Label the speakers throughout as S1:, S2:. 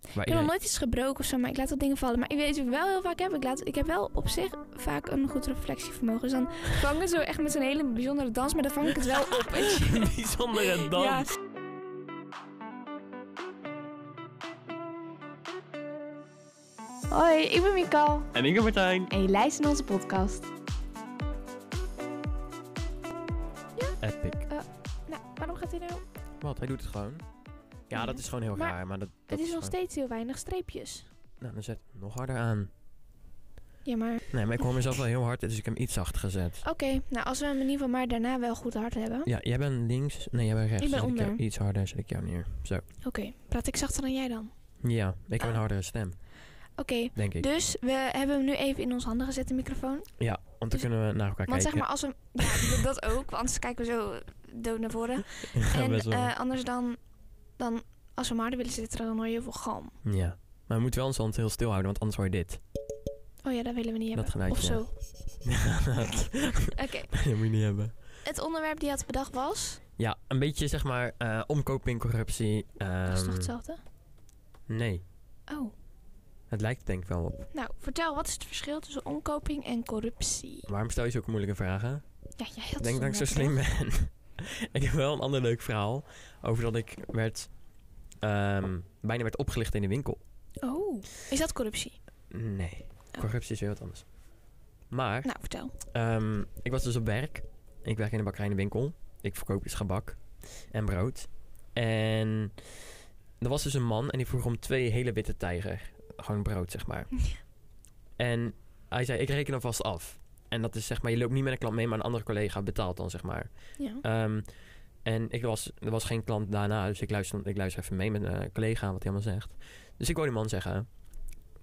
S1: Waar
S2: Ik heb nog
S1: iedereen-
S2: nooit iets gebroken of zo, maar ik laat wel dingen vallen. Maar ik weet wat ik wel heel vaak heb. Ik, laat, ik heb wel op zich vaak een goed reflectievermogen. Dus dan vang ik zo echt met een hele bijzondere dans, maar dan vang ik het wel op. weet je.
S1: Een bijzondere dans.
S2: Ja.
S3: Hoi, ik ben Mikal
S1: En ik ben Martijn.
S3: en je luistert naar onze podcast.
S1: Epic.
S2: Nou, waarom gaat hij nou?
S1: Wat, hij doet het gewoon. Ja, dat is gewoon heel
S2: Mm. Maar
S1: raar, maar dat, dat
S2: Het is nog
S1: gewoon-
S2: steeds heel weinig streepjes.
S1: Nou, dan zet het nog harder aan.
S2: Ja, maar...
S1: Nee, maar ik hoor mezelf wel heel hard, dus ik heb hem iets zachter gezet.
S2: Oké, nou als we hem in ieder geval maar daarna wel goed hard hebben.
S1: Ja, jij bent links. Nee, jij bent rechts.
S2: Ik ben
S1: dus Ik
S2: onder.
S1: jou- iets harder zet ik jou neer. Zo.
S2: Oké, praat ik zachter dan jij dan?
S1: Ja, ik heb een
S2: Ah.
S1: hardere stem,
S2: Oké,
S1: denk ik.
S2: dus we hebben hem nu even in onze handen gezet, de microfoon.
S1: Ja, want dan
S2: dus-
S1: kunnen we naar elkaar
S2: Want zeg
S1: kijken.
S2: maar als we... Ja, dat ook, want anders kijken we zo dood naar voren. En
S1: Best wel.
S2: eh, anders dan, dan, als we maar harder willen zitten, dan hoor je heel veel galm.
S1: Ja. Maar we moeten wel ons hand heel stil houden, want anders hoor je dit.
S2: Oh ja, dat willen we niet
S1: Dat
S2: hebben.
S1: geluidje,
S2: of zo. Oké,
S1: dat moet je niet hebben.
S2: het onderwerp die je had bedacht was...
S1: Ja, een beetje zeg maar eh omkoping, corruptie.
S2: dat is toch
S1: ehm,
S2: hetzelfde?
S1: nee,
S2: Oh,
S1: het lijkt er denk ik wel op.
S2: nou vertel, wat is het verschil tussen omkoping en corruptie?
S1: Waarom stel je zulke moeilijke vragen?
S2: Ja, jij had
S1: ik denk dat ik zo slim ben. ik heb wel een ander leuk verhaal over dat ik werd, ehm, bijna werd opgelicht in de winkel.
S2: Oh, is dat corruptie?
S1: Nee,
S2: Oh.
S1: corruptie is heel wat anders. Maar
S2: Nou, vertel.
S1: Ehm, ik was dus op werk. Ik werk in de bakkerij in de winkel. Ik verkoop dus gebak en brood. En er was dus een man en die vroeg om twee hele witte tijger. Gewoon brood, zeg maar. En hij zei, ik reken alvast af. En dat is zeg maar, je loopt niet met een klant mee, maar een andere collega betaalt dan, zeg maar.
S2: Ja.
S1: Ehm, en ik was, er was geen klant daarna, dus ik luister, ik luister even mee met een collega wat hij allemaal zegt. Dus ik hoorde die man zeggen,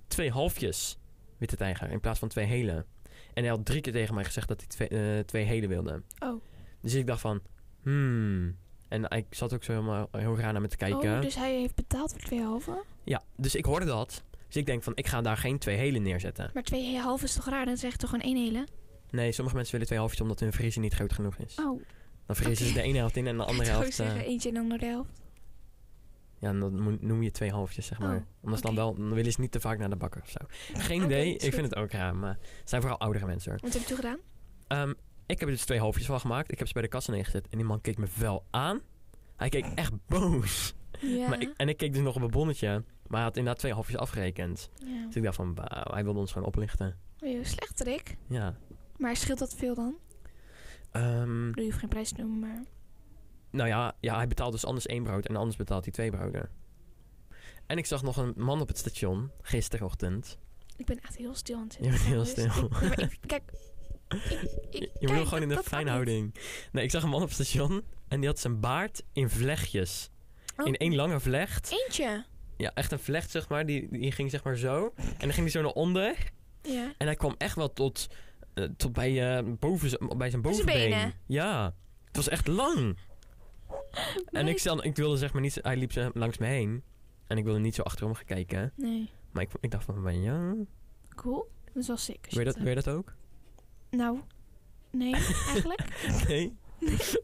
S1: twee halfjes witte tijger in plaats van twee hele. En hij had drie keer tegen mij gezegd dat hij twee, eh, twee hele wilde.
S2: Oh.
S1: Dus ik dacht van, hmm. En ik zat ook zo helemaal heel raar naar me te kijken.
S2: Oh, dus hij heeft betaald voor twee halve?
S1: Ja, dus ik hoorde dat. Dus ik denk van, ik ga daar geen twee hele neerzetten.
S2: Maar twee halve is toch raar? Dan zeg je toch gewoon één hele?
S1: Nee, sommige mensen willen twee halfjes omdat hun vriezer niet groot genoeg is.
S2: Oh,
S1: Dan vriezen ze
S2: oké.
S1: de ene helft in en de andere
S2: ik zou
S1: helft... eh,
S2: zeggen eentje en de andere helft.
S1: Ja, en dan mo- noem je twee halfjes, zeg
S2: Oh,
S1: maar. Anders dan
S2: oké.
S1: wel, dan willen ze niet te vaak naar de bakker of zo. Geen
S2: Oké,
S1: idee,
S2: is
S1: ik
S2: goed.
S1: vind het ook raar, maar het zijn vooral oudere mensen. hoor.
S2: Wat heb je toen gedaan?
S1: Ehm, ik heb er dus twee halfjes van gemaakt. Ik heb ze bij de kassa neergezet en die man keek me wel aan. Hij keek echt boos.
S2: Ja.
S1: Maar ik, en ik keek dus nog op een bonnetje, maar hij had inderdaad twee halfjes afgerekend.
S2: ja.
S1: Dus ik dacht van, wauw, hij wilde ons gewoon oplichten.
S2: Oh, slecht trick.
S1: Ja.
S2: Maar scheelt dat veel dan?
S1: Ehm,
S2: Ik bedoel, je hoeft geen prijs te noemen, maar...
S1: nou ja, ja, hij betaalt dus anders één brood en anders betaalt hij twee broden. En ik zag nog een man op het station, gisterochtend.
S2: Ik ben echt heel stil aan het
S1: Je
S2: zitten.
S1: bent heel
S2: Ja, dus
S1: stil.
S2: ik- ja, maar ik- kijk, ik,
S1: Je-
S2: ik,
S1: je wil
S2: kijk,
S1: gewoon in
S2: dat-
S1: de
S2: dat kan
S1: fijne
S2: niet.
S1: houding. Nee, ik zag een man op het station en die had zijn baard in vlechtjes.
S2: Oh,
S1: In één lange vlecht.
S2: Eentje.
S1: Ja, echt een vlecht zeg maar. Die, die ging zeg maar zo. En dan ging hij zo naar onder.
S2: Ja.
S1: En hij kwam echt wel tot, eh, tot bij, eh, boven, z- bij zijn
S2: Bij zijn
S1: bovenbeen.
S2: benen.
S1: Ja, het was echt lang. En ik, stel, ik wilde zeg maar niet... zo- Hij liep zo langs me heen. En ik wilde niet zo achterom gaan kijken.
S2: Nee.
S1: Maar ik, ik dacht van, ben je...
S2: Cool. Dat is wel sick. als
S1: Wil je
S2: je
S1: dat, wil je dat ook?
S2: Nou, nee, eigenlijk.
S1: Nee?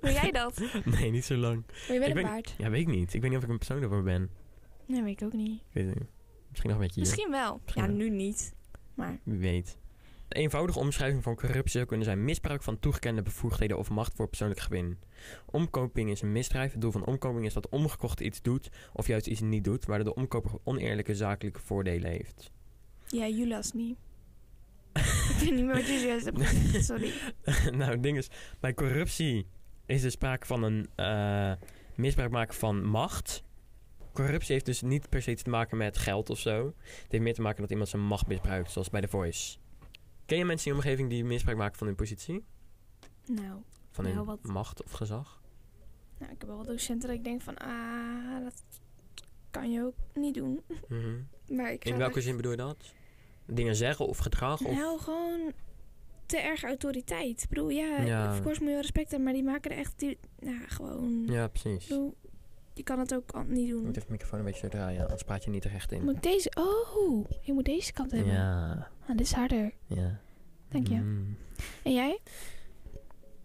S2: Wil jij dat?
S1: Nee, niet zo lang.
S2: Maar je bent
S1: Ik
S2: een
S1: ben-
S2: paard.
S1: Ja, weet ik niet. Ik weet niet of ik een persoon daarvoor ben.
S2: Nee, weet ik ook niet.
S1: Ik weet het niet. Misschien nog een beetje...
S2: Misschien wel.
S1: Misschien
S2: ja,
S1: wel.
S2: nu niet. Maar
S1: Wie weet. De eenvoudige omschrijving van corruptie zou kunnen zijn misbruik van toegekende bevoegdheden of macht voor persoonlijk gewin. Omkoping is een misdrijf. Het doel van omkoping is dat omgekochte iets doet of juist iets niet doet, waardoor de omkoper oneerlijke zakelijke voordelen heeft.
S2: ja, Julas niet. ik weet niet meer wat je juist hebt gezegd. Sorry.
S1: nou, het ding is, bij corruptie is er sprake van een eh, misbruik maken van macht. Corruptie heeft dus niet per se te maken met geld of zo. Het heeft meer te maken dat iemand zijn macht misbruikt, zoals bij The Voice. Ken je mensen in je omgeving die misbruik maken van hun positie?
S2: Nou,
S1: Van
S2: Nou,
S1: hun
S2: wat-
S1: macht of gezag?
S2: nou, ik heb wel wat docenten dat ik denk van... Ah, dat kan je ook niet doen.
S1: Mhm.
S2: Maar ik
S1: In
S2: ga daar-
S1: welke zin bedoel je dat? Dingen zeggen of gedrag? Of...
S2: Nou, gewoon te erg autoriteit. Ik bedoel, ja,
S1: Ja.
S2: of course moet je wel respect hebben, maar die maken er echt... Die, nou, gewoon... Ik
S1: Ja, precies.
S2: bedoel, je kan het ook al- niet
S1: Je
S2: doen.
S1: moet even de microfoon een beetje zo draaien, anders praat je niet terecht in.
S2: Moet ik deze... Oh, je moet deze kant hebben.
S1: Ja,
S2: Ah, dit is harder.
S1: ja.
S2: Dank je.
S1: Mm.
S2: En jij?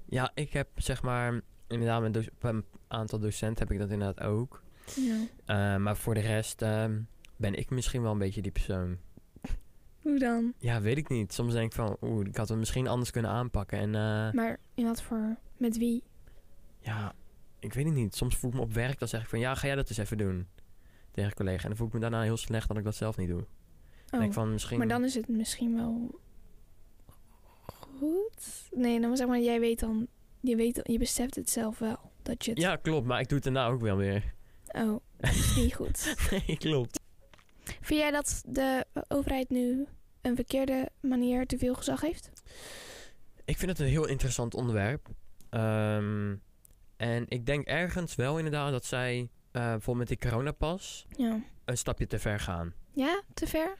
S1: Ja, ik heb zeg maar, inderdaad, met doc- bij een aantal docenten heb ik dat inderdaad ook.
S2: Ja.
S1: Eh, maar voor de rest ehm, ben ik misschien wel een beetje die persoon.
S2: Hoe dan?
S1: Ja, weet ik niet. Soms denk ik van, oeh, ik had het misschien anders kunnen aanpakken. En eh,
S2: Maar in wat voor... Met wie?
S1: ja, ik weet het niet. Soms voel ik me op werk, dan zeg ik van, ja, ga jij dat eens even doen. Tegen een collega. En dan voel ik me daarna heel slecht dat ik dat zelf niet doe.
S2: Oh,
S1: Dan denk ik van, misschien...
S2: Maar dan is het misschien wel... Goed? Nee, dan zeg maar, jij weet dan... Je, weet, je beseft het zelf wel. Dat je het...
S1: Ja, klopt. Maar ik doe het daarna ook wel weer.
S2: Oh, dat is niet goed.
S1: nee, klopt.
S2: Vind jij dat de overheid nu een verkeerde manier te veel gezag heeft?
S1: Ik vind het een heel interessant onderwerp. Ehm, en ik denk ergens wel inderdaad dat zij eh, bijvoorbeeld met die coronapas
S2: Ja.
S1: een stapje te ver gaan.
S2: Ja? Te ver?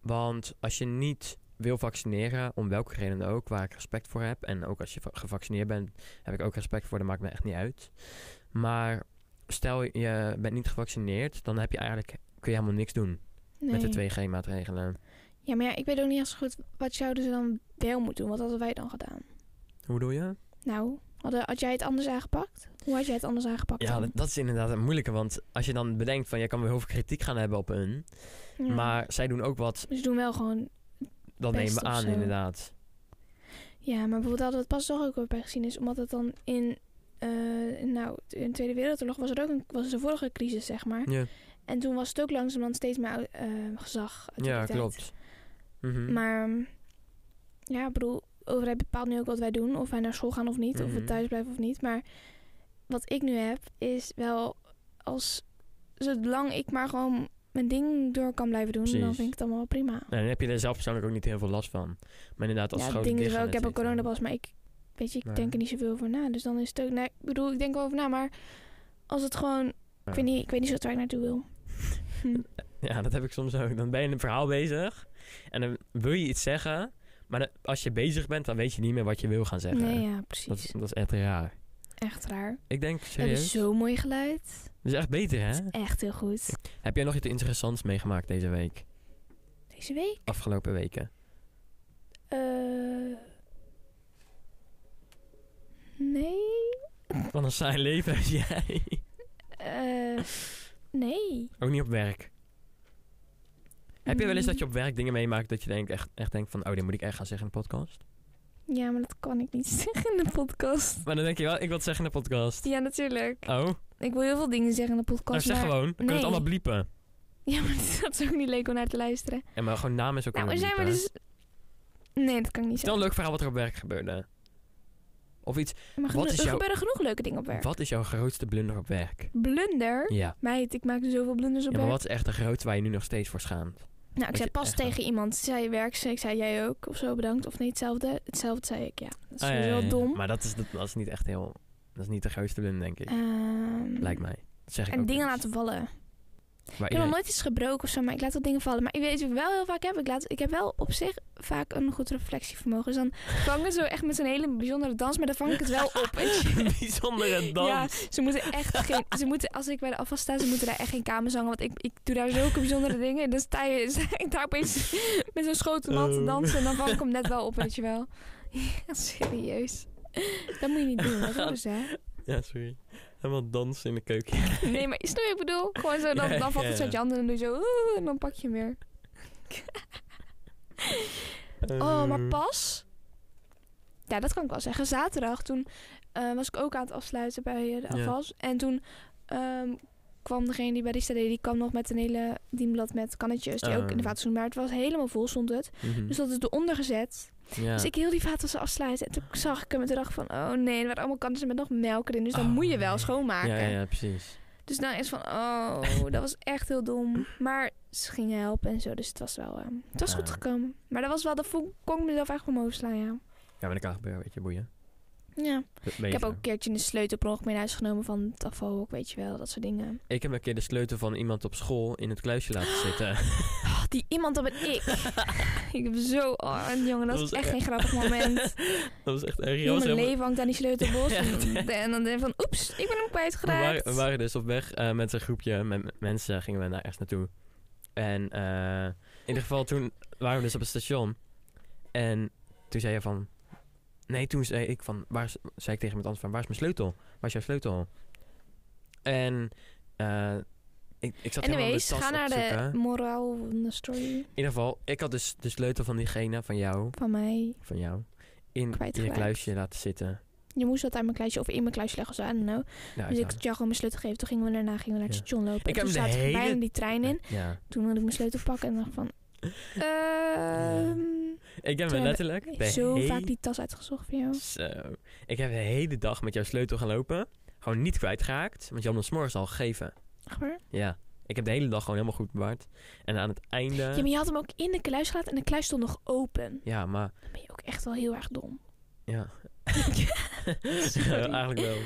S1: Want als je niet wil vaccineren, om welke reden dan ook, waar ik respect voor heb. En ook als je va- gevaccineerd bent, heb ik ook respect voor, dat maakt me echt niet uit. Maar stel je bent niet gevaccineerd, dan heb je eigenlijk, kun je helemaal niks doen
S2: Nee.
S1: met de 2G-maatregelen.
S2: Ja, maar ja, ik weet ook niet eens goed wat zouden ze dan wel moeten doen. Wat hadden wij dan gedaan?
S1: Hoe doe je?
S2: Nou, hadden, had jij het anders aangepakt? Hoe had jij het anders aangepakt?
S1: Ja,
S2: dan?
S1: dat, dat is inderdaad een moeilijke, want als je dan bedenkt van, jij kan wel heel veel kritiek gaan hebben op hun,
S2: Ja.
S1: maar zij doen ook wat,
S2: Ze doen wel gewoon...
S1: dat
S2: Best
S1: nemen we
S2: of
S1: aan
S2: zo.
S1: inderdaad.
S2: Ja, maar bijvoorbeeld hadden we het pas toch ook weer bij gezien is. Omdat het dan in... eh, nou, in de Tweede Wereldoorlog was er ook een, was er de vorige crisis, zeg maar.
S1: Ja,
S2: En toen was het ook langzamerhand steeds meer eh, gezag.
S1: ja
S2: autoriteit.
S1: klopt. Mhm.
S2: Maar ehm, ja, ik bedoel, de overheid bepaalt nu ook wat wij doen. Of wij naar school gaan of niet. Of
S1: Mhm.
S2: we thuis blijven of niet. Maar wat ik nu heb, is wel als zolang ik maar gewoon mijn ding door kan blijven doen, dan
S1: Precies.
S2: vind ik het allemaal wel prima.
S1: Nou, dan heb je er zelf persoonlijk ook niet heel veel last van. Maar inderdaad, als
S2: ja, het
S1: grote
S2: ding is
S1: dicht
S2: wel,
S1: gaan
S2: ik heb een
S1: zitten.
S2: coronapas, maar ik weet je, ik
S1: Nee.
S2: denk er niet zoveel over na. Dus dan is het ook, nee, ik bedoel, ik denk wel over na, maar als het gewoon, ik, weet niet, ik weet niet zo waar ik naartoe wil.
S1: Ja, dat heb ik soms ook. Dan ben je in een verhaal bezig en dan wil je iets zeggen, maar dan- als je bezig bent, dan weet je niet meer wat je wil gaan zeggen.
S2: Nee, ja,
S1: dat,
S2: precies.
S1: is, dat is echt raar.
S2: Echt raar.
S1: Ik denk,
S2: We hebben
S1: serieus,
S2: zo'n mooi geluid.
S1: dat is echt beter, hè?
S2: Echt heel goed.
S1: Heb jij nog iets interessants meegemaakt deze week?
S2: Deze week.
S1: Afgelopen weken?
S2: Eh. nee.
S1: Van een saai leven heb jij.
S2: Eh. nee.
S1: Ook niet op werk. Heb je wel eens dat je op werk dingen meemaakt dat je denkt, echt, echt denkt van, oh, dit moet ik echt gaan zeggen in de podcast?
S2: Ja, maar dat kan ik niet zeggen in de podcast.
S1: Maar dan denk je wel, ik wil het zeggen in de podcast.
S2: Ja, natuurlijk.
S1: Oh,
S2: Ik wil heel veel dingen zeggen in de
S1: nou
S2: podcast.
S1: zeg
S2: maar...
S1: gewoon. We kunnen het
S2: nee.
S1: allemaal bliepen.
S2: Ja, maar dat is ook niet leuk om naar te luisteren.
S1: En maar gewoon naam is ook
S2: nou,
S1: weer
S2: er zijn we
S1: bliepen.
S2: dus. Nee, dat kan ik niet
S1: Stel een
S2: zeggen.
S1: leuk verhaal wat er op werk gebeurde. Of iets. wat
S2: Maar geno-
S1: is
S2: er
S1: jouw-
S2: gebeuren genoeg leuke dingen op werk.
S1: Wat is jouw grootste blunder op werk?
S2: Blunder?
S1: Ja.
S2: Meid, ik maak zoveel blunders op
S1: ja maar
S2: werk.
S1: wat is echt de grootste waar je nu nog steeds voor schaamt?
S2: Nou, ik
S1: Wat
S2: zei
S1: je
S2: pas
S1: echt eh,
S2: tegen iemand, zei werk, ik zei jij ook, of zo bedankt, of nee, hetzelfde. Hetzelfde zei ik, ja. Dat is
S1: Ah, ja,
S2: sowieso
S1: ja, ja.
S2: dom.
S1: Maar dat is, dat, dat is niet echt heel... Dat is niet de grootste blunder, denk ik.
S2: Ehm,
S1: Lijkt mij. Dat zeg ik
S2: En
S1: ook
S2: dingen
S1: wel eens.
S2: laten vallen.
S1: Waar
S2: Ik heb nog
S1: iedereen-
S2: nooit iets gebroken of zo, maar ik laat wel dingen vallen. Maar ik weet wat ik wel heel vaak heb. Ik, laat, ik heb wel op zich vaak een goed reflectievermogen. Dus dan vangen ze echt met een hele bijzondere dans, maar dan vang ik het wel op. weet je.
S1: Bijzondere dans.
S2: Ja, ze moeten echt geen. Ze moeten, als ik bij de afwas sta, ze moeten daar echt geen kamers hangen. Want ik, ik doe daar zulke bijzondere dingen. En dan sta, je, sta ik daar opeens met zo'n schotelmat te
S1: Oh.
S2: dansen. En dan vang ik hem net wel op, weet je wel. Ja, serieus. Dat moet je niet doen, dat is hè.
S1: Ja, sorry. Helemaal dansen in de keuken.
S2: Nee, maar is nu ik bedoel? Gewoon zo, dan,
S1: Ja,
S2: dan valt
S1: ja,
S2: het zo uit
S1: ja.
S2: je handen en dan doe je zo... "Oeh," en dan pak je hem weer. Oh,
S1: Ehm.
S2: maar pas... Ja, dat kan ik wel zeggen. Zaterdag, toen eh, was ik ook aan het afsluiten bij eh, de
S1: Ja.
S2: afwas. En toen ehm, kwam degene die barista deed, die kwam nog met een hele dienblad met kannetjes. Die ook in de
S1: Oh.
S2: vaat stond, maar het was helemaal vol, stond het.
S1: Mhm.
S2: Dus dat is eronder gezet.
S1: ja.
S2: Dus ik heel die vaatwassen afsluiten. En toen zag ik hem en toen dacht ik van, oh nee, er waren allemaal kannetjes met nog melk erin. Dus dan
S1: Oh,
S2: moet je wel
S1: nee.
S2: schoonmaken.
S1: ja, ja, ja, precies.
S2: Dus dan is van, oh, dat was echt heel dom. Maar ze gingen helpen en zo, dus het was wel... eh, het was goed
S1: Ah.
S2: gekomen. Maar dat was wel, dat vond- kon ik mezelf echt voor mijn hoofd slaan, ja.
S1: Ja, maar dat kan gebeuren, weet je, boeien.
S2: Ja. Ik heb
S1: Beter.
S2: ook een keertje een sleutel per ongeluk mee naar huis genomen van het afvalhok, weet je wel, dat soort dingen.
S1: Ik heb een keer de sleutel van iemand op school in het kluisje laten zitten.
S2: Oh, die iemand, dat ben ik. ik heb zo... Oh, jongen, dat, is echt geen grappig moment.
S1: e- dat was echt erg. Je
S2: Heel
S1: was
S2: mijn
S1: helemaal-
S2: leven hangt aan die sleutelbos.
S1: Ja, echt.
S2: en dan denk ik van, oeps, ik ben hem
S1: We waren,
S2: kwijtgeraakt.
S1: we waren dus op weg eh, met een groepje met m- mensen, gingen we naar ergens naartoe. En eh, in ieder geval, toen waren we dus op het station. En toen zei je van... Nee, toen zei ik van... Waar is, zei ik tegen iemand anders van, waar is mijn sleutel? Waar is jouw sleutel? En eh, Ik, ik zat helemaal in mijn
S2: Anyways,
S1: tas
S2: ga
S1: op
S2: naar
S1: te
S2: de
S1: zoeken.
S2: moraal van de story
S1: In ieder geval, ik had dus de sleutel van diegene, van jou,
S2: van mij.
S1: van jou, in je
S2: Kwijtgeraakt.
S1: kluisje laten zitten.
S2: Je moest dat uit mijn kluisje of in mijn kluisje leggen, zo, I don't know.
S1: Nou,
S2: Dus
S1: ja.
S2: ik had Jacco mijn sleutel gegeven. Toen gingen we daarna gingen we naar
S1: Ja.
S2: het station lopen.
S1: Ik
S2: en
S1: heb
S2: toen
S1: hem de
S2: zaten we bijna
S1: hele-
S2: in die trein in.
S1: ja.
S2: Toen wilde ik mijn sleutel pakken en dacht van... ehm,
S1: Ik heb
S2: Toen
S1: me
S2: heb
S1: letterlijk de
S2: zo
S1: hele-
S2: vaak die tas uitgezocht voor jou.
S1: Zo. Ik heb de hele dag met jouw sleutel gelopen. Gewoon niet kwijtgeraakt, want je had me s'morgens al gegeven.
S2: Echt waar?
S1: Ja. Ik heb de hele dag gewoon helemaal goed bewaard. En aan het einde...
S2: Ja, maar je had hem ook in de kluis gelaten en de kluis stond nog open.
S1: Ja, maar...
S2: Dan ben je ook echt wel heel erg dom.
S1: Ja.
S2: Sorry.
S1: Ja, eigenlijk wel.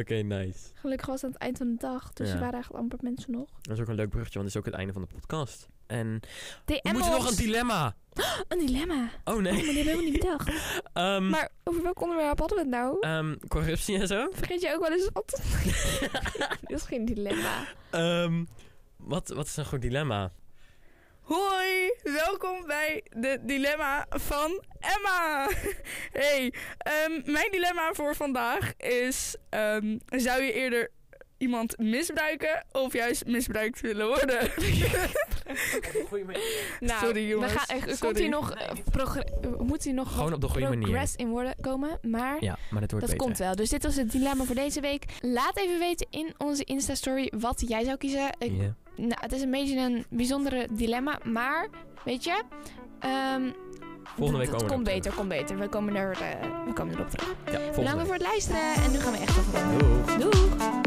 S1: Oké, nice.
S2: Gelukkig was het aan het eind van de dag, dus
S1: Ja.
S2: er waren eigenlijk amper mensen nog.
S1: Dat is ook een leuk bruggetje, want het is ook het einde van de podcast. En
S2: DM
S1: we moeten
S2: ons.
S1: nog een dilemma.
S2: Een dilemma.
S1: Oh
S2: Oh,
S1: nee.
S2: maar die hebben we niet bedacht.
S1: Ehm,
S2: Maar over welk onderwerp hadden we het nou?
S1: ehm, corruptie en zo.
S2: Vergeet je ook wel eens wat? Dit is geen dilemma.
S1: Ehm, wat, wat is een goed dilemma?
S4: Hoi, welkom bij de dilemma van Emma. Hey, ehm, mijn dilemma voor vandaag is: ehm, zou je eerder iemand misbruiken of juist misbruikt willen worden?
S2: Nou,
S4: Sorry, jongens.
S2: We gaan, er- er komt
S4: Sorry.
S2: hier nog, eh, progre- eh, moet hier nog
S1: Gewoon
S2: wat
S1: op de goede manier.
S2: progress in worden komen, maar...
S1: Ja, maar dat wordt
S2: Dat
S1: beter.
S2: komt wel. Dus dit was het dilemma voor deze week. Laat even weten in onze Insta-story wat jij zou kiezen. Ik-
S1: Ja.
S2: nou, het is een beetje een bijzondere dilemma, maar weet je... ehm,
S1: Volgende week komen we
S2: d- dat komt
S1: erop
S2: beter, komt beter. We komen, er, eh, we komen erop terug.
S1: Ja, volgende
S2: Bedankt voor het luisteren en nu gaan we echt afronden.
S1: week. Doeg.
S2: Doeg!